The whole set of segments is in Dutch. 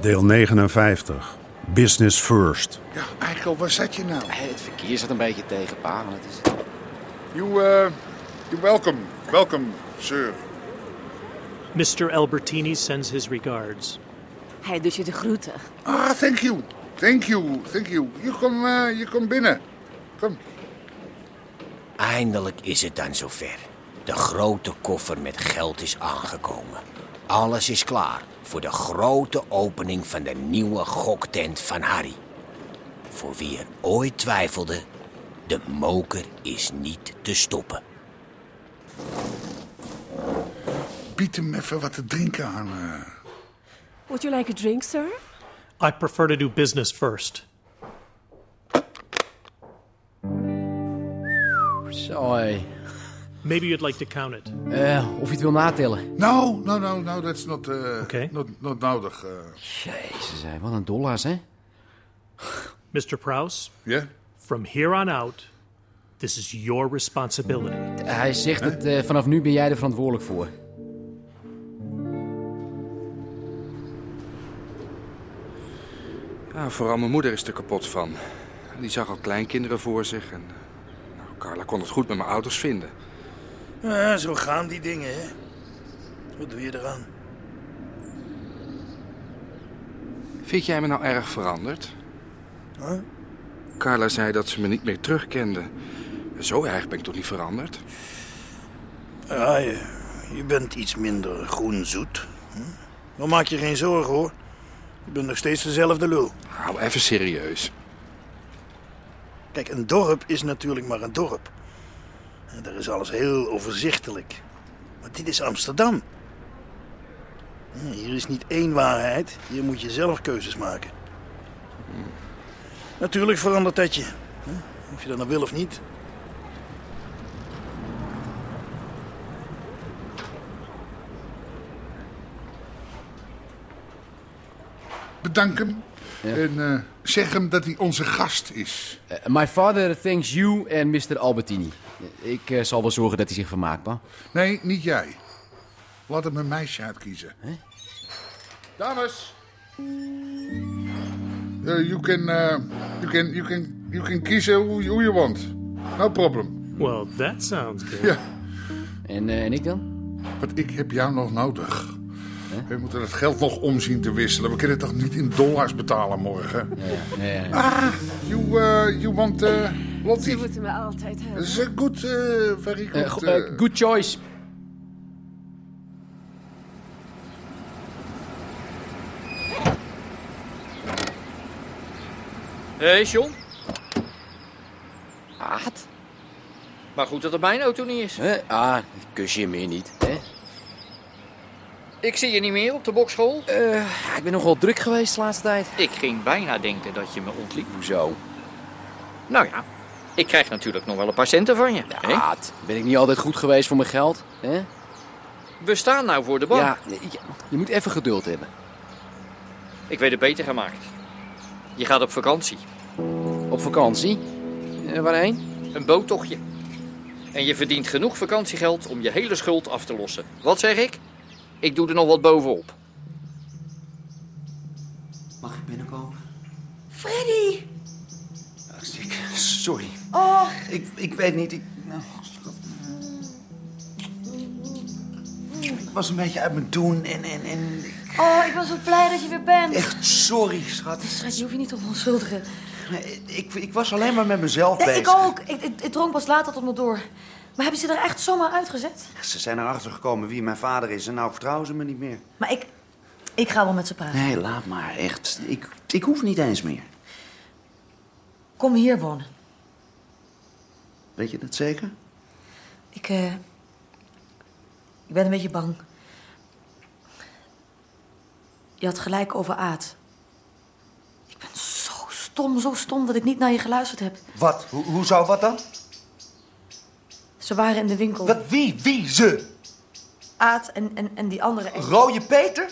Deel 59. Business first. Ja, Eikel, waar zat je nou? Eh, Hey, Het verkeer zat een beetje tegen pa, maar dat is You, eh, you welcome. Welcome, sir. Mr. Albertini sends his regards. Hij doet dus je de groeten. Ah, thank you. Thank you, thank you. Je komt eh, je komt binnen. Kom. Eindelijk is het dan zover. De grote koffer met geld is aangekomen. Alles is klaar voor de grote opening van de nieuwe goktent van Harry. Voor wie er ooit twijfelde, de moker is niet te stoppen. Bied hem even wat te drinken aan. eh. Would you like a drink, sir? I prefer to do business first. Zo, hé. Maybe you'd like to count it. Eh, of je het wil natellen. No, no, no, no, nou, that's not, eh, Oké. not, not nodig. eh. Jezus, hé, wat een dollars, hè? Mr. Prouse, Ja? from here on out, this is your responsibility. Hij zegt dat eh, vanaf nu ben jij er verantwoordelijk voor. Ja, vooral mijn moeder is er kapot van. Die zag al kleinkinderen voor zich en... eh, Nou, Carla kon het goed met mijn ouders vinden. Ja, zo gaan die dingen, hè. Wat doe je eraan? Vind jij me nou erg veranderd? Huh? Carla zei dat ze me niet meer terugkende. Zo erg ben ik toch niet veranderd? Ja, je, je bent iets minder groenzoet. Hm? Maar maak je geen zorgen, hoor. Je bent nog steeds dezelfde lul. Hou even serieus. Kijk, een dorp is natuurlijk maar een dorp. En daar is alles heel overzichtelijk. Maar dit is Amsterdam. Hm, Hier is niet één waarheid. Hier moet je zelf keuzes maken. Natuurlijk verandert dat je. hè? Of je dat nou wil of niet. Bedank hem. En eh, zeg hem dat hij onze gast is. Eh, my father thanks you en Mr. Albertini. Eh, Ik eh, zal wel zorgen dat hij zich vermaakt, pa. Nee, niet jij. Laat hem een meisje uitkiezen. Dames. Eh, you, can, eh, you, can, you, can, you can kiezen hoe hoe je want. No problem. Well, that sounds good. En, eh, en ik dan? Want ik heb jou nog nodig. We moeten het geld nog omzien te wisselen. We kunnen het toch niet in dollars betalen morgen? Ah, Nee, nee, nee. You, eh, you want eh Lottie? Ze moeten me altijd Dat hebben. is een goed, eh very Eh, good. go- eh, eh, good choice. Hé, hey, Eh, John. Aad? Maar goed dat het mijn auto niet is. Hè? Ah, kus je meer niet. Hè? Ik zie je niet meer op de bokschool. Eh, Ja, Eh, ik ben nogal druk geweest de laatste tijd. Ik ging bijna denken dat je me ontliep. Hoezo? Nou ja, ik krijg natuurlijk nog wel een paar centen van je. hè? Aad, ben ik niet altijd goed geweest voor mijn geld? Hè? We staan nou voor de bank. Ja, je- je moet even geduld hebben. Ik weet het beter gemaakt. Je gaat op vakantie. Op vakantie? Eh, waarheen? Een boottochtje. En je verdient genoeg vakantiegeld om je hele schuld af te lossen. Wat zeg ik? Ik doe er nog wat bovenop. Mag ik binnenkomen? Freddy! Sorry. Oh, Ik, ik weet niet. Ik, nou, eh. ik was een beetje uit mijn doen en, en, en... oh, ik ben zo blij dat je weer bent. Echt sorry, schat. Schat, je hoeft je niet op te onschuldigen. Ik, ik was alleen maar met mezelf Nee, bezig. ik ook. Ik, ik, ik dronk pas later tot me door. Maar hebben ze er echt zomaar uitgezet? Ze zijn erachter gekomen wie mijn vader is en nou vertrouwen ze me niet meer. Maar ik, ik ga wel met ze praten. Nee, laat maar, echt. Ik, ik hoef niet eens meer. Kom hier wonen. Weet je dat zeker? Ik, eh, ik ben een beetje bang. Je had gelijk over Aad. Ik ben zo stom, zo stom dat ik niet naar je geluisterd heb. Wat? Hoe, hoe zou wat dan? Ze waren in de winkel. Wat? Wie? Wie? Ze? Aad en, en, en die andere. ex. Rooie Peter?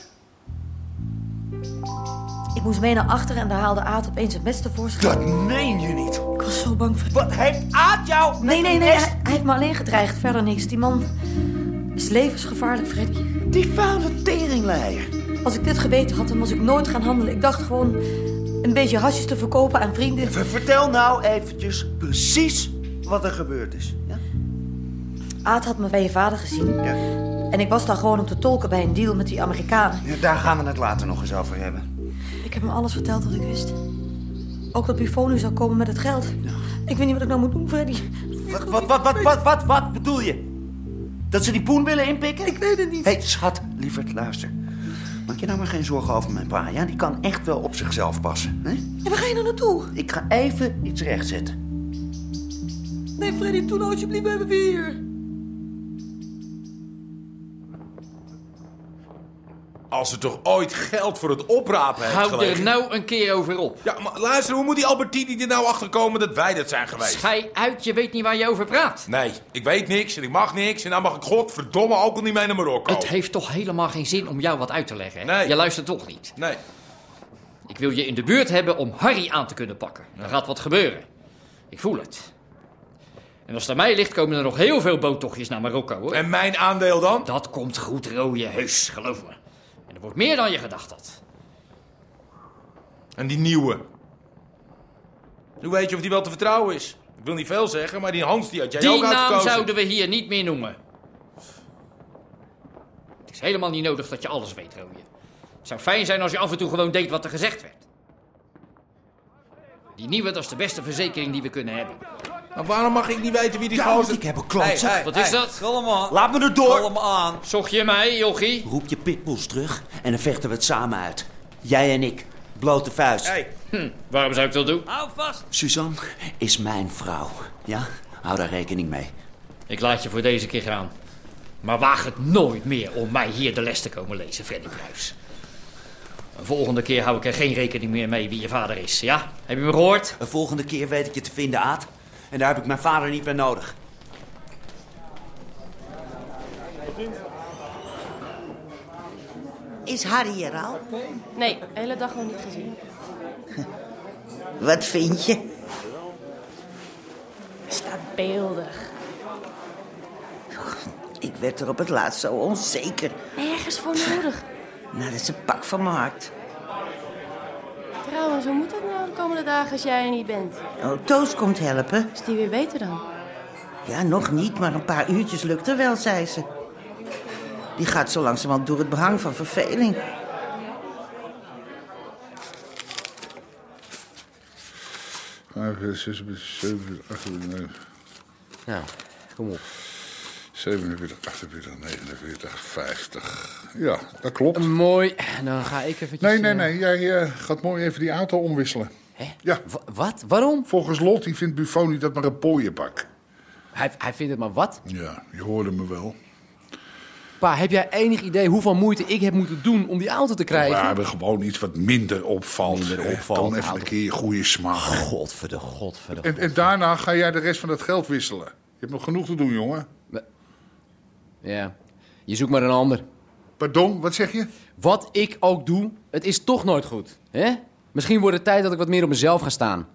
Ik moest mee naar achteren en daar haalde Aad opeens het mes tevoorschijn. Dat meen je niet. Ik was zo bang voor... Wat heeft Aad jou? met Nee, nee, die nee. mes- Hij, hij heeft me alleen gedreigd. Verder niks. Die man is levensgevaarlijk, Freddy. Die vuile teringleier. Als ik dit geweten had, dan was ik nooit gaan handelen. Ik dacht gewoon een beetje hasjes te verkopen aan vrienden. Ver- Vertel nou eventjes precies wat er gebeurd is. Ja? Aad had me bij je vader gezien. Ja. En ik was daar gewoon om te tolken bij een deal met die Amerikanen. Ja, Daar gaan we het later nog eens over hebben. Ik heb hem alles verteld wat ik wist. Ook dat Buffon nu zou komen met het geld. Ik weet niet wat ik nou moet doen, Freddy. Wat, wat, wat, wat, wat, wat, wat bedoel je? Dat ze die poen willen inpikken? Ik weet het niet. Hé, hey, schat, lieverd, luister. Maak je nou maar geen zorgen over mijn pa. Ja, die kan echt wel op zichzelf passen. Hè? En waar ga je nou naartoe? Ik ga even iets rechtzetten. Nee, Freddy, toen alsjeblieft hebben we hier. Als ze toch ooit geld voor het oprapen heeft Hou er gelegen. nou een keer over op. Eh, Ja, maar luister, hoe moet die Albertini er nou achter komen dat wij dat zijn geweest? Schij uit, je weet niet waar je over praat. Nee, ik weet niks en ik mag niks en dan mag ik godverdomme ook al niet mee naar Marokko. Het heeft toch helemaal geen zin om jou wat uit te leggen, hè? Nee. Je luistert toch niet. Nee, Ik wil je in de buurt hebben om Harry aan te kunnen pakken. Er gaat wat gebeuren. Ik voel het. En als het aan mij ligt, komen er nog heel veel boottochtjes naar Marokko, hoor. en mijn aandeel dan? Dat komt goed, rode heus, geloof me. En er wordt meer dan je gedacht had. En die nieuwe? Hoe weet je of die wel te vertrouwen is? Ik wil niet veel zeggen, maar die Hans die had jij Die ook naam uitgekozen. zouden we hier niet meer noemen. Het is helemaal niet nodig dat je alles weet, Rooie. Het zou fijn zijn als je af en toe gewoon deed wat er gezegd werd. Die nieuwe, dat is de beste verzekering die we kunnen hebben. Maar waarom mag ik niet weten wie die Ja, want gozer... ik heb een klootzak. eh, Hey, hey, Wat hey. is dat? Laat me erdoor. aan. Zocht je mij, jochie? Roep je pitbulls terug en dan vechten we het samen uit. Jij en ik. Blote vuist. Hey, Waarom zou ik dat doen? Hou vast. Suzanne is mijn vrouw. Ja? Hou daar rekening mee. Ik laat je voor deze keer gaan. Maar waag het nooit meer om mij hier de les te komen lezen, Freddy Kruis. Een volgende keer hou ik er geen rekening meer mee wie je vader is, ja? Heb je me gehoord? De volgende keer weet ik je te vinden, Aad. En daar heb ik mijn vader niet meer nodig. Is Harry er al? Nee, de hele dag nog niet gezien. Wat vind je? Staat beeldig. Ik werd er op het laatst zo onzeker. Nergens voor nodig. Nou, dat is een pak van mijn hart. Trouwens, hoe moet het nou de komende dagen als jij er niet bent? Oh, Toos komt helpen. Is die weer beter dan? Ja, nog niet, maar een paar uurtjes lukt er wel, zei ze. Die gaat zo langzamerhand door het behang van verveling. Vijf, zes, zeven, acht, negen. Nou, kom op. 47, 48, 49, 50. Ja, dat klopt. Mooi, dan ga ik eventjes... Nee, nee, eh, nee. Jij eh, gaat mooi even die auto omwisselen. Ja. Wat? Waarom? Volgens Lottie vindt Buffoni dat maar een pooienbak. Hij, hij vindt het maar wat. Ja, je hoorde me wel. Pa, heb jij enig idee hoeveel moeite ik heb moeten doen om die auto te We krijgen? hebben gewoon iets wat minder opvalt. hè. Dan even nou. een keer je goede smaak. Godverde, godverde. En, en daarna ga jij de rest van dat geld wisselen. Je hebt nog genoeg te doen, jongen. Ja, je zoekt maar een ander. Pardon, wat zeg je? Wat ik ook doe, het is toch nooit goed. Hè? Misschien wordt het tijd dat ik wat meer op mezelf ga staan.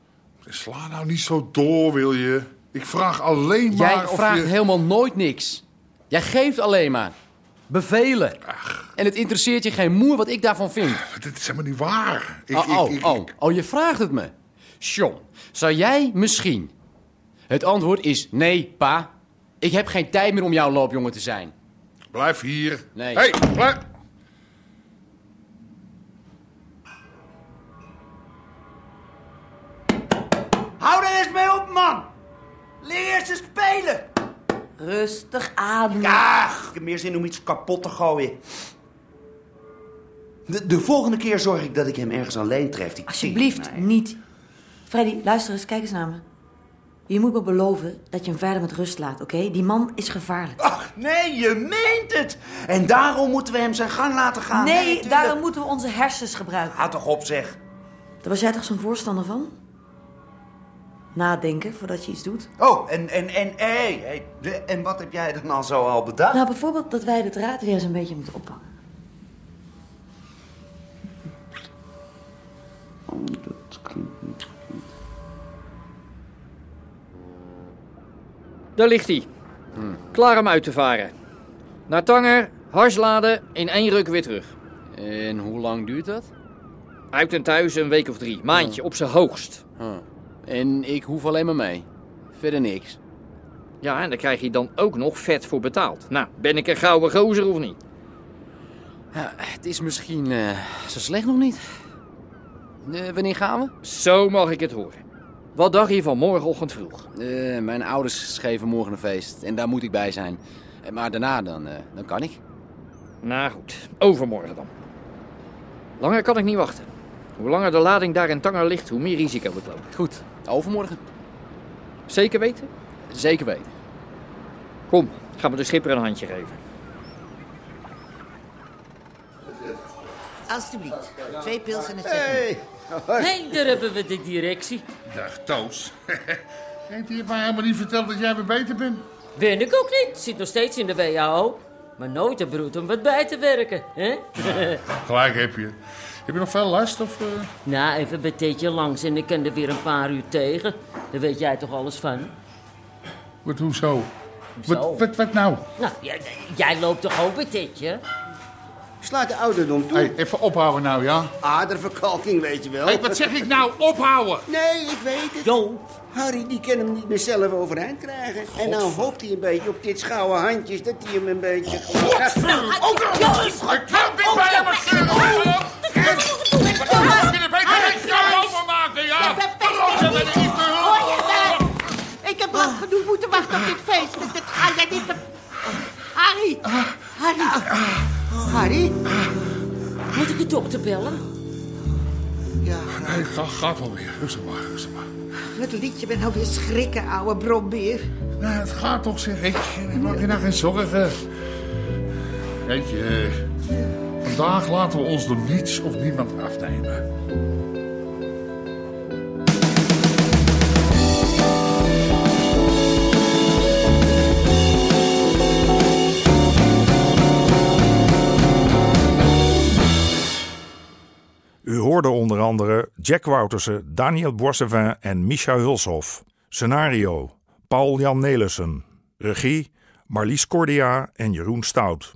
Sla nou niet zo door, wil je? Ik vraag alleen maar Jij of vraagt je... helemaal nooit niks. Jij geeft alleen maar. Bevelen. En het interesseert je geen moer wat ik daarvan vind. Ah, Dit is helemaal niet waar. Ik, oh, oh, ik, ik- oh, oh, je vraagt het me. John, zou jij misschien... Het antwoord is nee, pa. Ik heb geen tijd meer om jouw loopjongen te zijn. Blijf hier. Nee. Hey, blijf. Hou er eens mee op, man! Leer eens te spelen! Rustig aan. Ach, ik heb meer zin om iets kapot te gooien. De, de volgende keer zorg ik dat ik hem ergens alleen tref. Die Alsjeblieft, tering. niet. Freddy, luister eens, kijk eens naar me. Je moet me beloven dat je hem verder met rust laat, oké? Die man is gevaarlijk. Nee, je meent het! En daarom moeten we hem zijn gang laten gaan. nee, tuurlijk. daarom moeten we onze hersens gebruiken. Ga toch op, zeg. Daar was jij toch zo'n voorstander van? Nadenken voordat je iets doet. Oh, en, en, en, hey, hey, de- en wat heb jij dan al zo al bedacht? Nou, bijvoorbeeld dat wij de draad weer eens een beetje moeten oppakken. Daar ligt hij. Klaar om uit te varen. Naar Tanger, harsladen, in één ruk weer terug. En hoe lang duurt dat? Uit en thuis een week of drie. Maandje, op zijn hoogst. En ik hoef alleen maar mee. Verder niks. Ja, en daar krijg je dan ook nog vet voor betaald. Nou, ben ik een gouden gozer of niet? Ja, het is misschien eh, zo slecht nog niet. Eh, wanneer gaan we? Zo mag ik het horen. Wat dacht je van morgenochtend vroeg? Eh, mijn ouders geven morgen een feest en daar moet ik bij zijn. Eh, maar daarna dan, eh, dan kan ik. Nou goed, overmorgen dan. Langer kan ik niet wachten. Hoe langer de lading daar in Tanger ligt, hoe meer risico ik loop. Goed, overmorgen. Zeker weten? Zeker weten. Kom, gaan we de schipper een handje geven. Alsjeblieft. Twee pils en een Hey. hey, daar hebben we de directie. Dag, Toos. Heeft hij mij helemaal niet verteld dat jij weer beter bent? Ben ik ook niet. Zit nog steeds in de WHO. Maar nooit de broed om wat bij te Oh, werken. Hè? Gelijk heb je. Heb je nog veel last? Of, eh? nou, even bij Teetje langs en ik kan er weer een paar uur tegen. Daar weet jij toch alles van? Wat, hoezo? Hoezo? Wat, wat, wat nou? Nou, jij, jij loopt toch ook bij Teetje? Slaat de ouderdom toe. Hey, even ophouden nou, ja? Aderverkalking, weet je wel. Hey, wat zeg ik nou? Ophouden! Nee, ik weet het. Jo. Harry, die kan hem niet meer zelf overeind krijgen. En nou hoopt hij een beetje op dit schouwe handjes dat hij hem een beetje... Godverdomme! Ook nog eens! Ik kan niet bij hem scheren! Wat kan ik er beter niet over maken, ja? Roze ben ik niet te hulp! Ik heb lang genoeg moeten wachten op dit feest. Dus dat ga jij niet... be- Harry! Harry! Harry? Moet ik de dokter bellen? Nee, ga, gaat wel weer. Rustig maar, rustig maar. Dat liedje ben nou weer schrikken, ouwe brombeer. Nou, het gaat toch, zeg ik. Maak je nou geen zorgen. Weet je, eh, vandaag laten we ons door niets of niemand afnemen. U hoorde onder andere Jack Woutersen, Daniel Boissevin en Micha Hulshoff. Scenario: Paul-Jan Nelissen. Regie: Marlies Cordia en Jeroen Stout.